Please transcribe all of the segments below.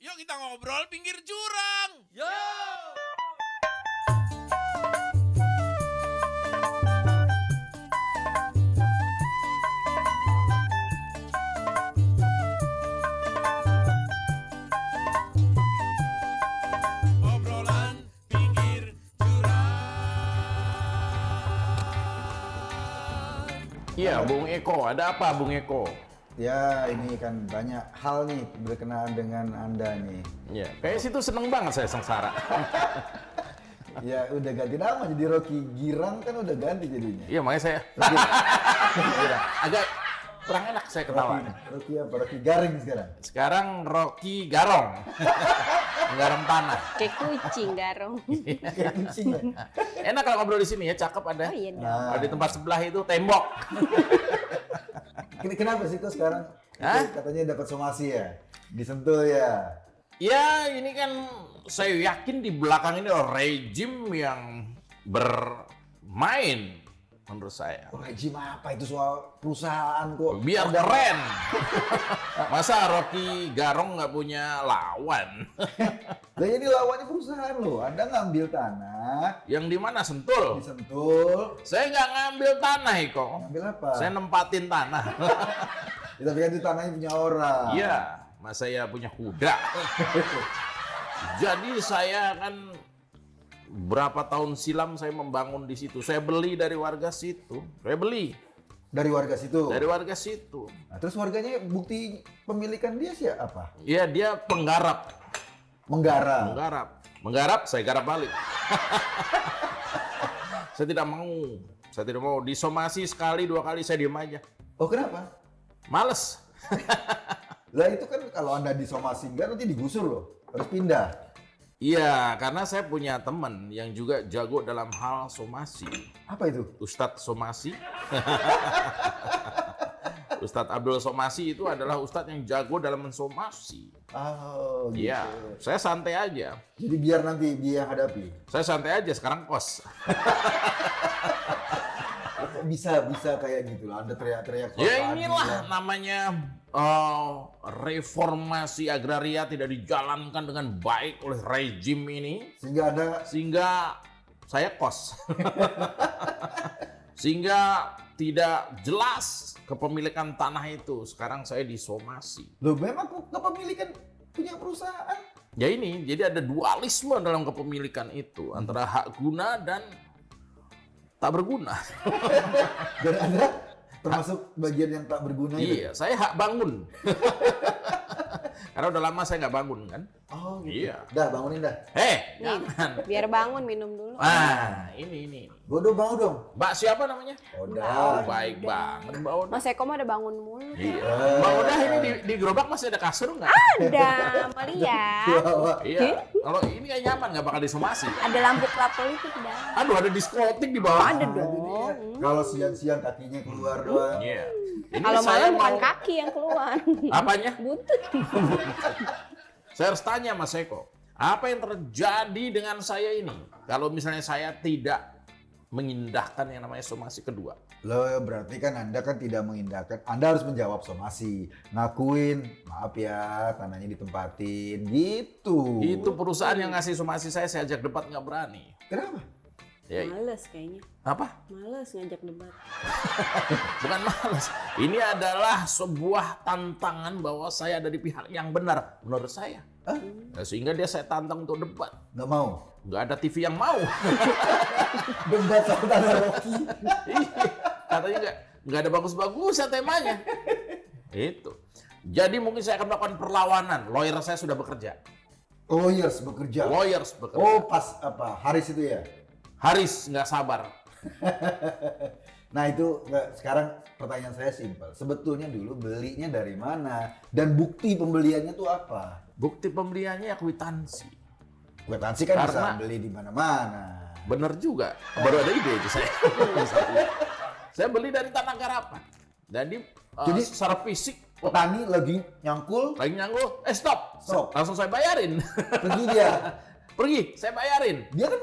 Yuk kita ngobrol pinggir jurang. Yo. Obrolan pinggir jurang. Iya, Nah. Bung Eko. Ada apa, Bung Eko? Ya ini kan banyak hal nih berkenaan dengan anda nih. Iya. Kayaknya situ seneng banget saya sengsara. Ya udah ganti nama jadi Rocky Girang kan udah ganti jadinya. iya, makanya saya iya. agak kurang enak saya ketawa. Rocky, Rocky apa? Rocky Garing sekarang. Sekarang Rocky Garong. Garong tanah. Kayak kucing garong. Iya. Kayak kucing ya. Enak kalau ngobrol di sini ya, cakep ada. Oh iya dong. Nah, Kalau di tempat sebelah itu tembok. ken- kenapa sih kok sekarang Hah? katanya dapat somasi ya? Disentuh ya. Ya, ini kan saya yakin di belakang ini rejim yang bermain menurut saya. Oh, rejim apa itu soal perusahaan kok? Biar Ada- keren. Masa Rocky Garong nggak punya lawan? Lah ini lawannya perusahaan loh. Anda ngambil tanah, Yang di mana Sentul? disentuh, Saya nggak ngambil tanah, Iko. ngambil apa? Saya nempatin tanah. Ya, tapi kan itu tanahnya punya orang. Iya, mas saya punya kuda. Jadi saya kan berapa tahun silam saya membangun di situ. Saya beli dari warga situ. Saya beli Dari warga situ. dari warga situ. Nah, terus warganya bukti pemilikan dia sih apa? Iya, dia penggarap, Menggarang. menggarap, menggarap. Saya garap balik. saya tidak mau, saya tidak mau disomasi sekali dua kali saya diem aja. Oh kenapa? Males. Lah itu kan kalau anda disomasi enggak nanti digusur loh, harus pindah. Iya, karena saya punya teman yang juga jago dalam hal somasi. Apa itu? Ustadz Somasi. Ustadz Abdul Somasi itu adalah ustadz yang jago dalam mensomasi. Oh gitu. Iya, saya santai aja. Jadi biar nanti dia yang hadapi. Saya santai aja sekarang kos. Oh, Kok bisa bisa kayak gitu lah, anda teriak-teriak. soal Ya keadilan. inilah namanya eh, reformasi agraria tidak dijalankan dengan baik oleh rejim ini Sehingga anda sehingga saya kos. sehingga tidak jelas kepemilikan tanah itu. Sekarang saya disomasi. loh memang kok kepemilikan punya perusahaan. Ya ini, jadi ada dualisme dalam kepemilikan itu antara hak guna dan tak berguna. Dan anda termasuk bagian yang tak berguna itu. iya, saya hak bangun. Karena udah lama saya nggak bangun kan. Oh gitu. Iya. Dah bangunin dah. Eh, Nih, jangan. biar bangun minum dulu. Ah, ini ini. Bodoh bangun dong. Oh, Mbak siapa namanya? Udah. baik banget Mbak Oda. Mas Eko mah udah bangun mulu. Iya. Mbak Oda ini di, di gerobak masih ada kasur nggak? Ah, Ada, melihat. Iya. Kalau ini kayak nyaman nggak bakal disomasi. Ada lampu kelapa itu di dalam. Aduh, ada diskotik di bawah. Ada Nah, dong. jadi ya, Kalau siang-siang kakinya keluar doang. Iya. Ini Kalau saya malam bukan mau- kaki yang keluar. Apanya? Butut. Saya harus tanya Mas Eko, apa yang terjadi dengan saya ini? Kalau misalnya saya tidak mengindahkan yang namanya somasi kedua. Loh berarti kan Anda kan tidak mengindahkan, Anda harus menjawab somasi, ngakuin, maaf ya tanahnya ditempatin, Uh. gitu. Itu perusahaan yang ngasih somasi saya, saya ajak debat nggak berani. Kenapa? Ya, Males kayaknya. apa? Males ngajak debat. Bukan malas. Ini adalah sebuah tantangan bahwa saya ada di pihak yang benar menurut saya. Ya, sehingga dia saya tantang untuk debat. Nggak mau? Nggak ada TV yang mau. Debat soal tanah Rocky. Iya. Katanya nggak nggak ada bagus-bagusnya temanya. Itu. Jadi mungkin saya akan melakukan perlawanan. Lawyer saya sudah bekerja. Lawyers Oh, iya, bekerja. Lawyers bekerja. Oh pas apa, Haris itu ya? Haris nggak sabar. Nah itu nggak- sekarang pertanyaan saya simpel. Sebetulnya dulu belinya dari mana? Dan bukti pembeliannya tuh apa? Bukti pembeliannya ya kwitansi. Kwitansi kan Karena- bisa beli di mana-mana. Bener juga. Baru ada ide itu saya. saya beli dari tanah garapan. Jadi, eh, Jadi- secara fisik Petani lagi nyangkul, lagi nyanggul, eh stop. Stop. Langsung saya bayarin. pergi dia. Pergi, saya bayarin. Dia kan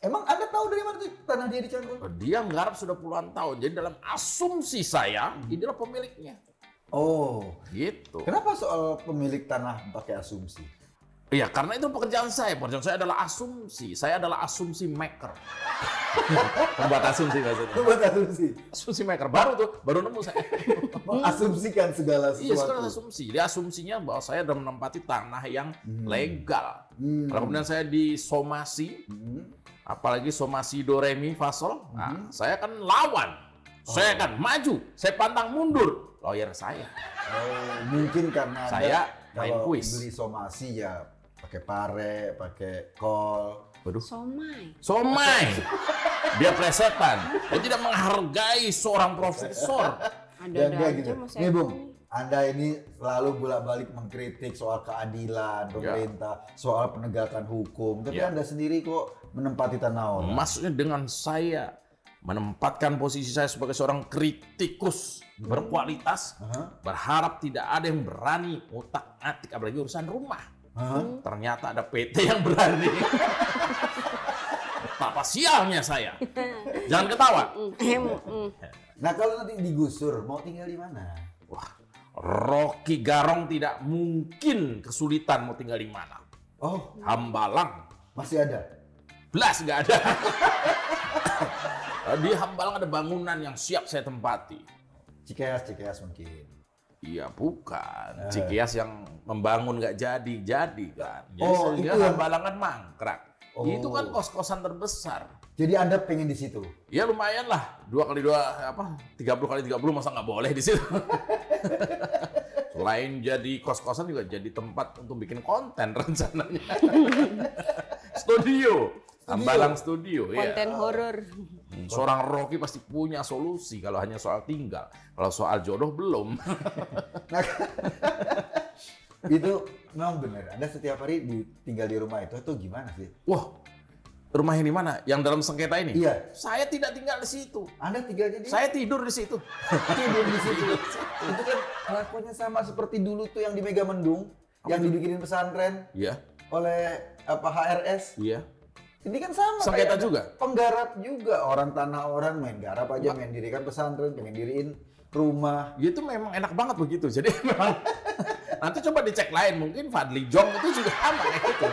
emang anda tahu dari mana tuh tanah dia dicangkul? Dia menggarap sudah puluhan tahun. Jadi dalam asumsi saya, inilah pemiliknya. Oh, Gitu. kenapa soal pemilik tanah pakai asumsi? Iya, karena itu pekerjaan saya. Pekerjaan saya adalah asumsi. Saya adalah asumsi maker. Pembuat asumsi Lu maksudnya. buat asumsi. Asumsi maker. Baru tuh, baru nemu saya. Mengasumsikan Hmm. segala iya, sekarang sesuatu. asumsi. Dia asumsinya bahwa saya sudah menempati tanah yang legal. Hmm. Kalau kemudian saya disomasi, Hmm. apalagi somasi do re mi fa sol, nah, saya akan lawan. Saya akan maju. Saya pantang mundur. Lawyer saya. Oh, mungkin karena ada- Saya main kalau kuis. beli somasi ya pakai pare, pakai kol. Waduh. Somai. Somai. Dia plesetan. Dia tidak menghargai seorang profesor. Dan Ada-ada dia aja gitu. Mas Nih Eko Bung, nih. Anda ini selalu bolak-balik mengkritik soal keadilan, pemerintah, soal penegakan hukum. Tapi Ya. Anda sendiri kok menempati tanah orang. Maksudnya dengan saya menempatkan posisi saya sebagai seorang kritikus berkualitas, Hah? berharap tidak ada yang berani utak-atik apalagi urusan rumah. Hah? Ternyata ada PT yang berani. Betapa sialnya saya. Jangan ketawa. Mm, em, mm. Nah kalau nanti digusur, mau tinggal di mana? Wah, Rocky Garong tidak mungkin kesulitan mau tinggal di mana. Oh, Hambalang, masih ada? belas nggak ada. di Hambalang ada bangunan yang siap saya tempati. Cikeas, Cikeas mungkin. Iya Eh. bukan, Cikias yang membangun nggak jadi jadi kan. Jadi Oh, dia itu yang- Hambalang kan mangkrak. Oh. Itu kan kos-kosan terbesar. Jadi Anda pengen di situ? Ya lumayan lah, dua kali dua apa? 30 kali 30 masa nggak boleh di situ. Selain jadi kos-kosan juga jadi tempat untuk bikin konten rencananya. studio, Hambalang Studio. ya. Konten horor. Hmm, Seorang Rocky pasti punya solusi kalau hanya soal tinggal. Kalau soal jodoh belum. Nah, itu memang benar. Anda setiap hari di, tinggal di rumah itu atau gimana sih? Wah, rumahnya di mana? Yang dalam sengketa ini? Iya. Saya tidak tinggal di situ. Anda tinggalnya di Saya tidur di situ. tidur di situ. itu kan kelakuannya sama seperti dulu tuh yang di Megamendung, yang dibikinin pesantren Iya, oleh apa HRS. iya. Ini kan sama. Sengketa kayak juga? Penggarap juga orang tanah orang main garap aja, main dirikan pesantren, pengen diriin rumah. Ya, Itu memang enak banget begitu. Jadi memang nanti coba dicek lain mungkin Fadli Jong itu juga sama kayak gitu.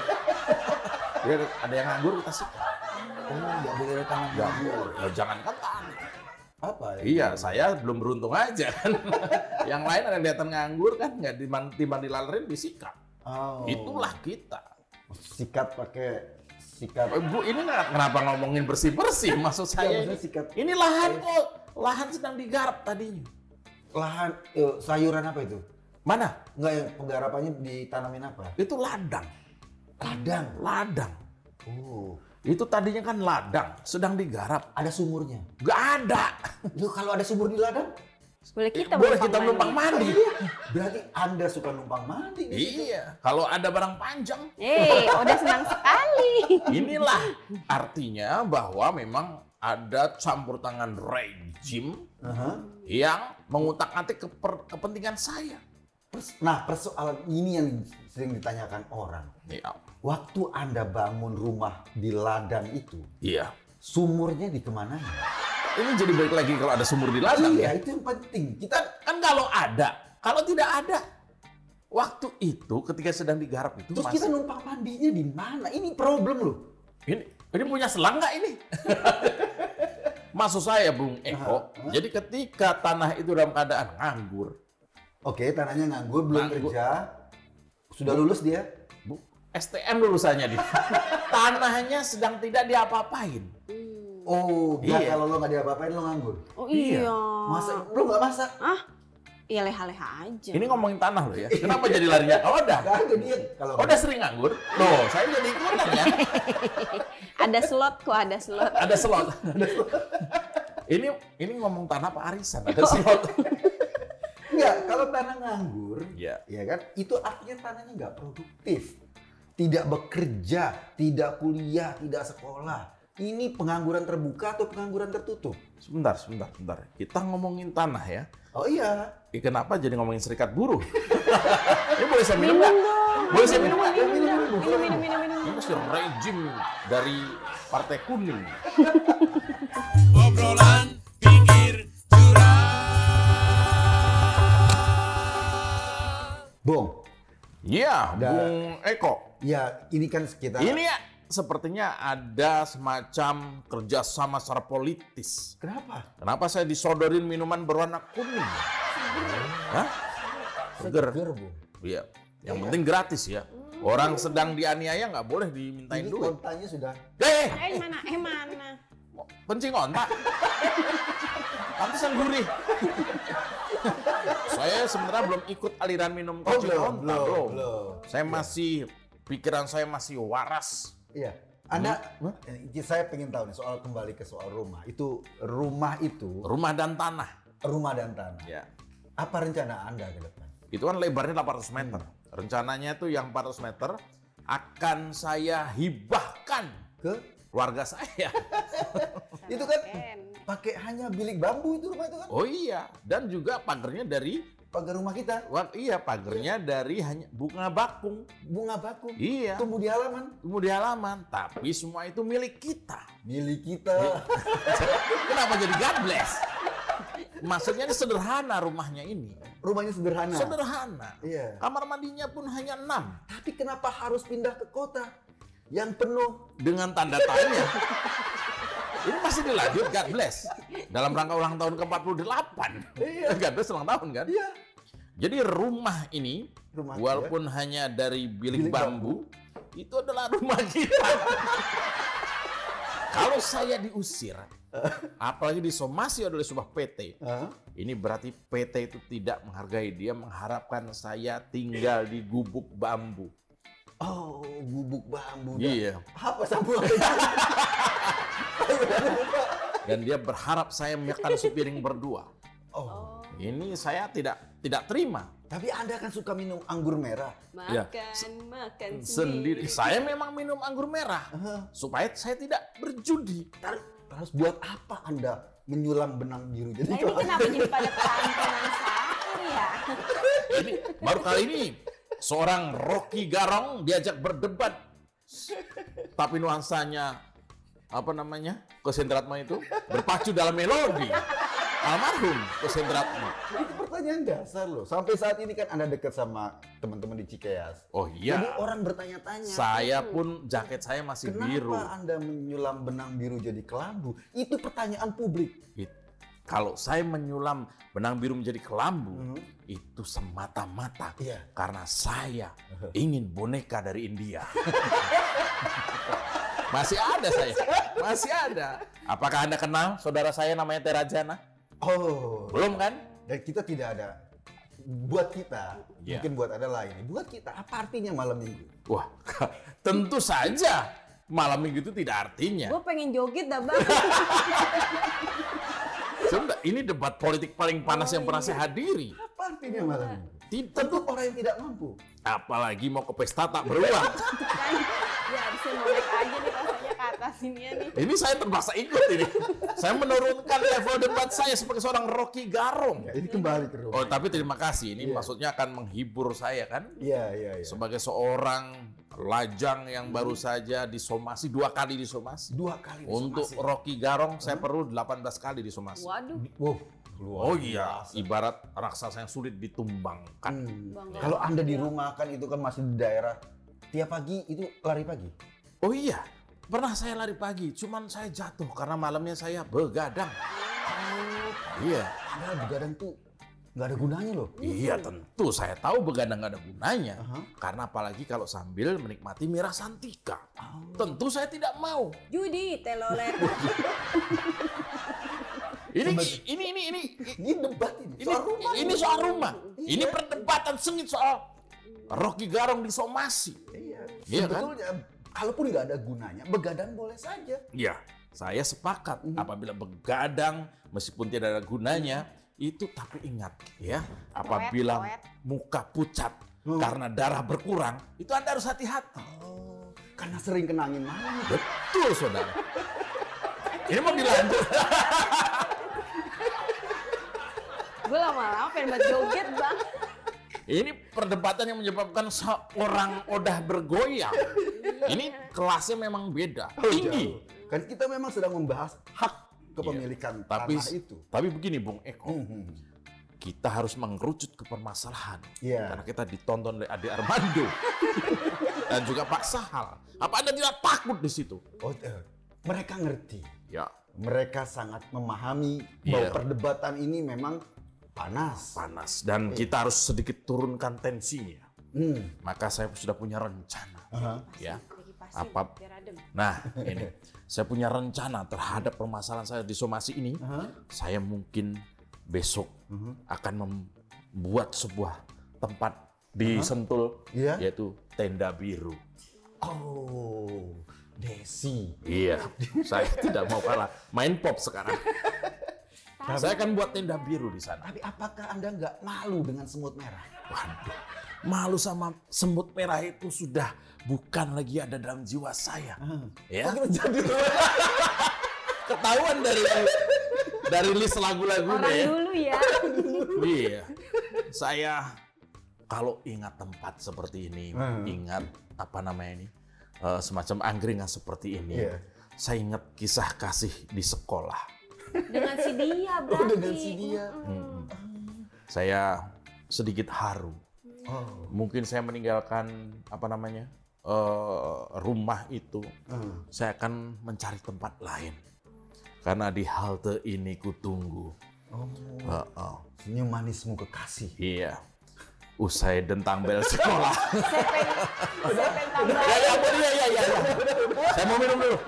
Ya, ada yang nganggur kita sikat. Oh, nggak boleh ada tangan nganggur. Ya, jangan kan. Apa ya? Iya, saya belum beruntung aja kan. yang lain ada yang kelihatan nganggur kan nggak diman- timbang dilalerin disikat. Oh. Itulah kita. sikat pakai sikat Eh, Bu, ini nggak- kenapa ngomongin bersih-bersih? Maksud saya Iya, maksudnya ini, sikat- ini lahan kok, lahan sedang digarap tadinya. lahan eh, sayuran apa itu? Mana? Enggak yang penggarapannya ditanamin apa? Itu ladang, Kadang. ladang. Oh, Itu tadinya kan ladang, sedang digarap. ada sumurnya. Nggak ada. Loh, kalau ada sumur di ladang, Iya. Boleh kita Boleh kita numpang mandi. berarti Anda suka numpang mandi di situ. Iya, kalau ada barang panjang, Eh, udah senang sekali. inilah artinya bahwa memang ada campur tangan rejim Aha. yang mengutak-atik keper- kepentingan saya. Pers- Nah, persoalan ini yang sering ditanyakan orang. Iya. Waktu Anda bangun rumah di ladang itu, Iya. sumurnya dikemanain? Ini jadi balik lagi kalau ada sumur di ladang ya. Iya, itu yang penting. Kita kan kalau ada, kalau tidak ada. Waktu itu ketika sedang digarap itu terus masih- kita numpang mandinya di mana? Ini problem loh. ini, ini punya selang nggak ini? Maksud saya Bung Eko, jadi ketika tanah itu dalam keadaan nganggur, Oke, tanahnya nganggur, belum Nganggur. kerja. Sudah lulus dia. Bu, STM lulusannya dia. Tanahnya sedang tidak diapa-apain. Oh, gila, Iya. kalau lo nggak diapa-apain lo nganggur. Oh Iya. iya. Masak, lo nggak masak. Ah, ya leha-leha aja. Ini ngomongin tanah loh ya. Kenapa jadi larinya ke Oda? Gak ada dia kalau Oda sering nganggur. Loh, saya jadi ikutan ya. Ada slot kok, ada slot. Ada slot. ini ini ngomong tanah apa arisan? Ada slot. Enggak, kalau tanah nganggur, Iya. ya kan, itu artinya tanahnya nggak produktif. Tidak bekerja, tidak kuliah, tidak sekolah. Ini pengangguran terbuka atau pengangguran tertutup? Sebentar, sebentar, sebentar. Kita ngomongin tanah ya. Oh iya. Ih, kenapa jadi ngomongin serikat buruh? Ini boleh saya minum Minum nggak? dong. Boleh saya minum nggak? Minum, minum, minum, minum, minum, minum, Ini minum. masih rejim dari Partai Kuning. Obrolan pinggir jurang. Bong, Iya, Da- Bung Eko. Ya ini kan sekitar Ini ya, sepertinya ada semacam kerjasama secara politis. Kenapa? Kenapa saya disodorin minuman berwarna kuning? Hah? Seger. Seger, Bung. Iya. Yang penting gratis ya. Orang sedang dianiaya nggak boleh dimintain Ini duit. kotanya sudah Eh, Eh mana? Eh mana? Pencing ontak. Pantesan gurih. Saya sebenarnya belum ikut aliran minum Oh, kencing belum, ontak. belum, belum. belum. Saya masih pikiran saya masih waras. Iya. Anda, Eh, saya pengen tahu nih soal kembali ke soal rumah. Itu rumah itu Rumah dan tanah. rumah dan tanah. Ya. Apa rencana Anda ke depan? Itu kan lebarnya 800 meter. Rencananya tuh yang 400 meter akan saya hibahkan Ke? keluarga saya. Itu kan Keren. pakai hanya bilik bambu itu rumah itu kan? Oh iya, dan juga pagernya dari Pagar rumah kita wah, iya pagernya dari hanya bunga bakung. bunga baku Iya. tumbuh di halaman Tumbuh di halaman, tapi semua itu milik kita. milik Iya. kita. Kenapa jadi God bless? Maksudnya ini sederhana rumahnya ini. Rumahnya sederhana. Sederhana. Nah. Iya. Kamar mandinya pun hanya enam. Tapi kenapa harus pindah ke kota yang penuh? Dengan tanda tanya. ini masih dilanjut God bless. Dalam rangka ulang tahun ke-48. Iya. God bless ulang tahun kan? Iya. Jadi rumah ini, Rumah iya. walaupun hanya dari bilik, Bilik bambu, itu adalah rumah kita. Kalau saya diusir, apalagi disomasi oleh sebuah PT, Hah? Ini berarti PT itu tidak menghargai dia mengharapkan saya tinggal di gubuk bambu. Oh, bubuk bambu. dah. Iya. Apa sambungannya? Saya udah lupa. Dan dia berharap saya menyekan sepiring berdua. Oh. Ini saya tidak tidak terima Tapi Anda kan suka minum anggur merah. Ya. hmm, Makan, makan sendiri. sendiri. Saya memang minum anggur merah supaya saya tidak berjudi. Ter- Terus buat apa Anda menyulam benang biru jadi Nah, ini cowok? kenapa jadi pada pelan-pelan sahur ya? Jadi baru kali ini seorang Rocky Garong diajak berdebat. Tapi nuansanya apa namanya? Kosendratma itu berpacu dalam melodi. Almarhum Kosendratma. Itu pertanyaan dasar loh. Sampai saat ini kan Anda dekat sama teman-teman di Cikeas. Oh iya. Jadi orang bertanya-tanya. Saya pun jaket saya masih Iya, Kenapa biru. Anda menyulam benang biru jadi kelambu? Itu pertanyaan publik. It- Kalau saya menyulam benang biru menjadi kelambu, itu semata-mata Hmm. Iya. karena saya ingin boneka dari India. masih ada saya, masih ada. Apakah anda kenal saudara saya namanya Terajana? Oh. Belum kan? Dan kita tidak ada buat kita, Iya. mungkin buat Anda lain. Buat kita apa artinya malam Minggu? Wah, tentu saja malam minggu itu tidak artinya. Gue pengen joget dah bang. Sebentar, ini debat politik paling Oh, panas yang iya. pernah saya hadiri. Apa artinya Iya. malam Minggu? Tidak, Tentu orang yang tidak mampu. apalagi mau ke pesta tak beruang. Kan, ya bisa mau naik aja nih rasanya ke atas ini ya nih. Ini saya terpaksa ikut ini. saya menurunkan level debat saya sebagai seorang Rocky Garong. Ya, Iya. ini kembali ke rumah. Oh, tapi terima kasih. Ini Iya. maksudnya akan menghibur saya kan? Iya, iya, iya. Sebagai seorang lajang yang baru saja disomasi dua kali disomasi. Dua kali Untuk disomasi. Rocky Garong saya perlu 18 kali disomasi. Waduh, Wow, luar Oh iya, biasa. ibarat raksasa yang sulit ditumbangkan. Hmm. Bangga. Kalau Anda di rumah kan itu kan masih di daerah. Tiap pagi itu lari pagi. Oh iya, pernah saya lari pagi, cuman saya jatuh karena malamnya saya begadang. Iya. Padahal begadang tuh nggak ada gunanya loh. Iya tentu, saya tahu begadang nggak ada gunanya. Aha. Karena apalagi kalau sambil menikmati Mira Santika. Oh. Tentu saya tidak mau. judi telolet. Ini Sembari- ini ini ini Ini debat ini. ini Soal rumah. ini soal rumah. Iya. Ini perdebatan sengit soal Rocky Garong disomasi. Iya. Iya kan? Sebetulnya, kalaupun nggak ada gunanya, begadang boleh saja. Iya, saya sepakat Mhm. apabila begadang meskipun tidak ada gunanya Iya. itu tapi ingat ya apabila awet. muka pucat Hmm. karena darah berkurang itu anda harus hati-hati. Oh, karena sering kenangin malam. Betul saudara. Ini mau dilanjut. Gue lama-lama pengen buat joget bang. Ini perdebatan yang menyebabkan seorang odah bergoyang. Ini kelasnya memang beda, Oh, tinggi. jauh. Kan kita memang sedang membahas hak kepemilikan Iya. Tapi tanah itu. tapi begini Bung Eko, Mhm. kita harus mengerucut ke permasalahan. Iya. Karena kita ditonton oleh Ade Armando dan juga Pak Sahal. Apa Anda tidak takut di situ? Oh, eh, mereka ngerti. Ya, Mereka sangat memahami bahwa Iya. perdebatan ini memang panas. panas dan Iya. kita harus sedikit turunkan tensinya. Hmm. Maka saya sudah punya rencana. Aha. Ya. Kipasin, Apa? biar adem. Nah, ini saya punya rencana terhadap permasalahan saya di somasi ini. Aha. Mhm. Saya mungkin besok akan membuat sebuah tempat di Sentul Iya. yaitu tenda biru. Oh, Desi. Iya, saya tidak mau kalah. Main pop sekarang. Tapi- saya akan buat tenda biru di sana. Tapi apakah Anda nggak malu dengan semut merah? Waduh, malu sama semut merah itu sudah bukan lagi ada dalam jiwa saya. Ya. jadi ketahuan dari dari list lagu-lagunya Orang ya. dulu ya. Iya. Saya kalau ingat tempat seperti ini, Hmm. ingat apa namanya ini, eh, semacam angkringan seperti ini. Iya. Saya ingat kisah kasih di sekolah. Dengan si dia Oh, berarti. Oh, dengan si dia. Mm-mm. Hmm. Saya sedikit haru. Oh. Mungkin saya meninggalkan apa namanya eh, rumah itu. Hmm. Saya akan mencari tempat lain. Karena di halte ini kutunggu. Oh. Heeh. Senyum manismu kekasih. Iya. Usai dentang bel sekolah. Iya, Saya pengen, saya pengen tambah. ya, ya, ya, ya, ya. Saya mau minum dulu.